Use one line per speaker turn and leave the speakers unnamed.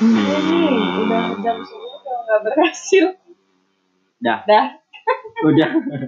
Ini udah jam segini udah nggak berhasil.
Dah,
Dah.
udah.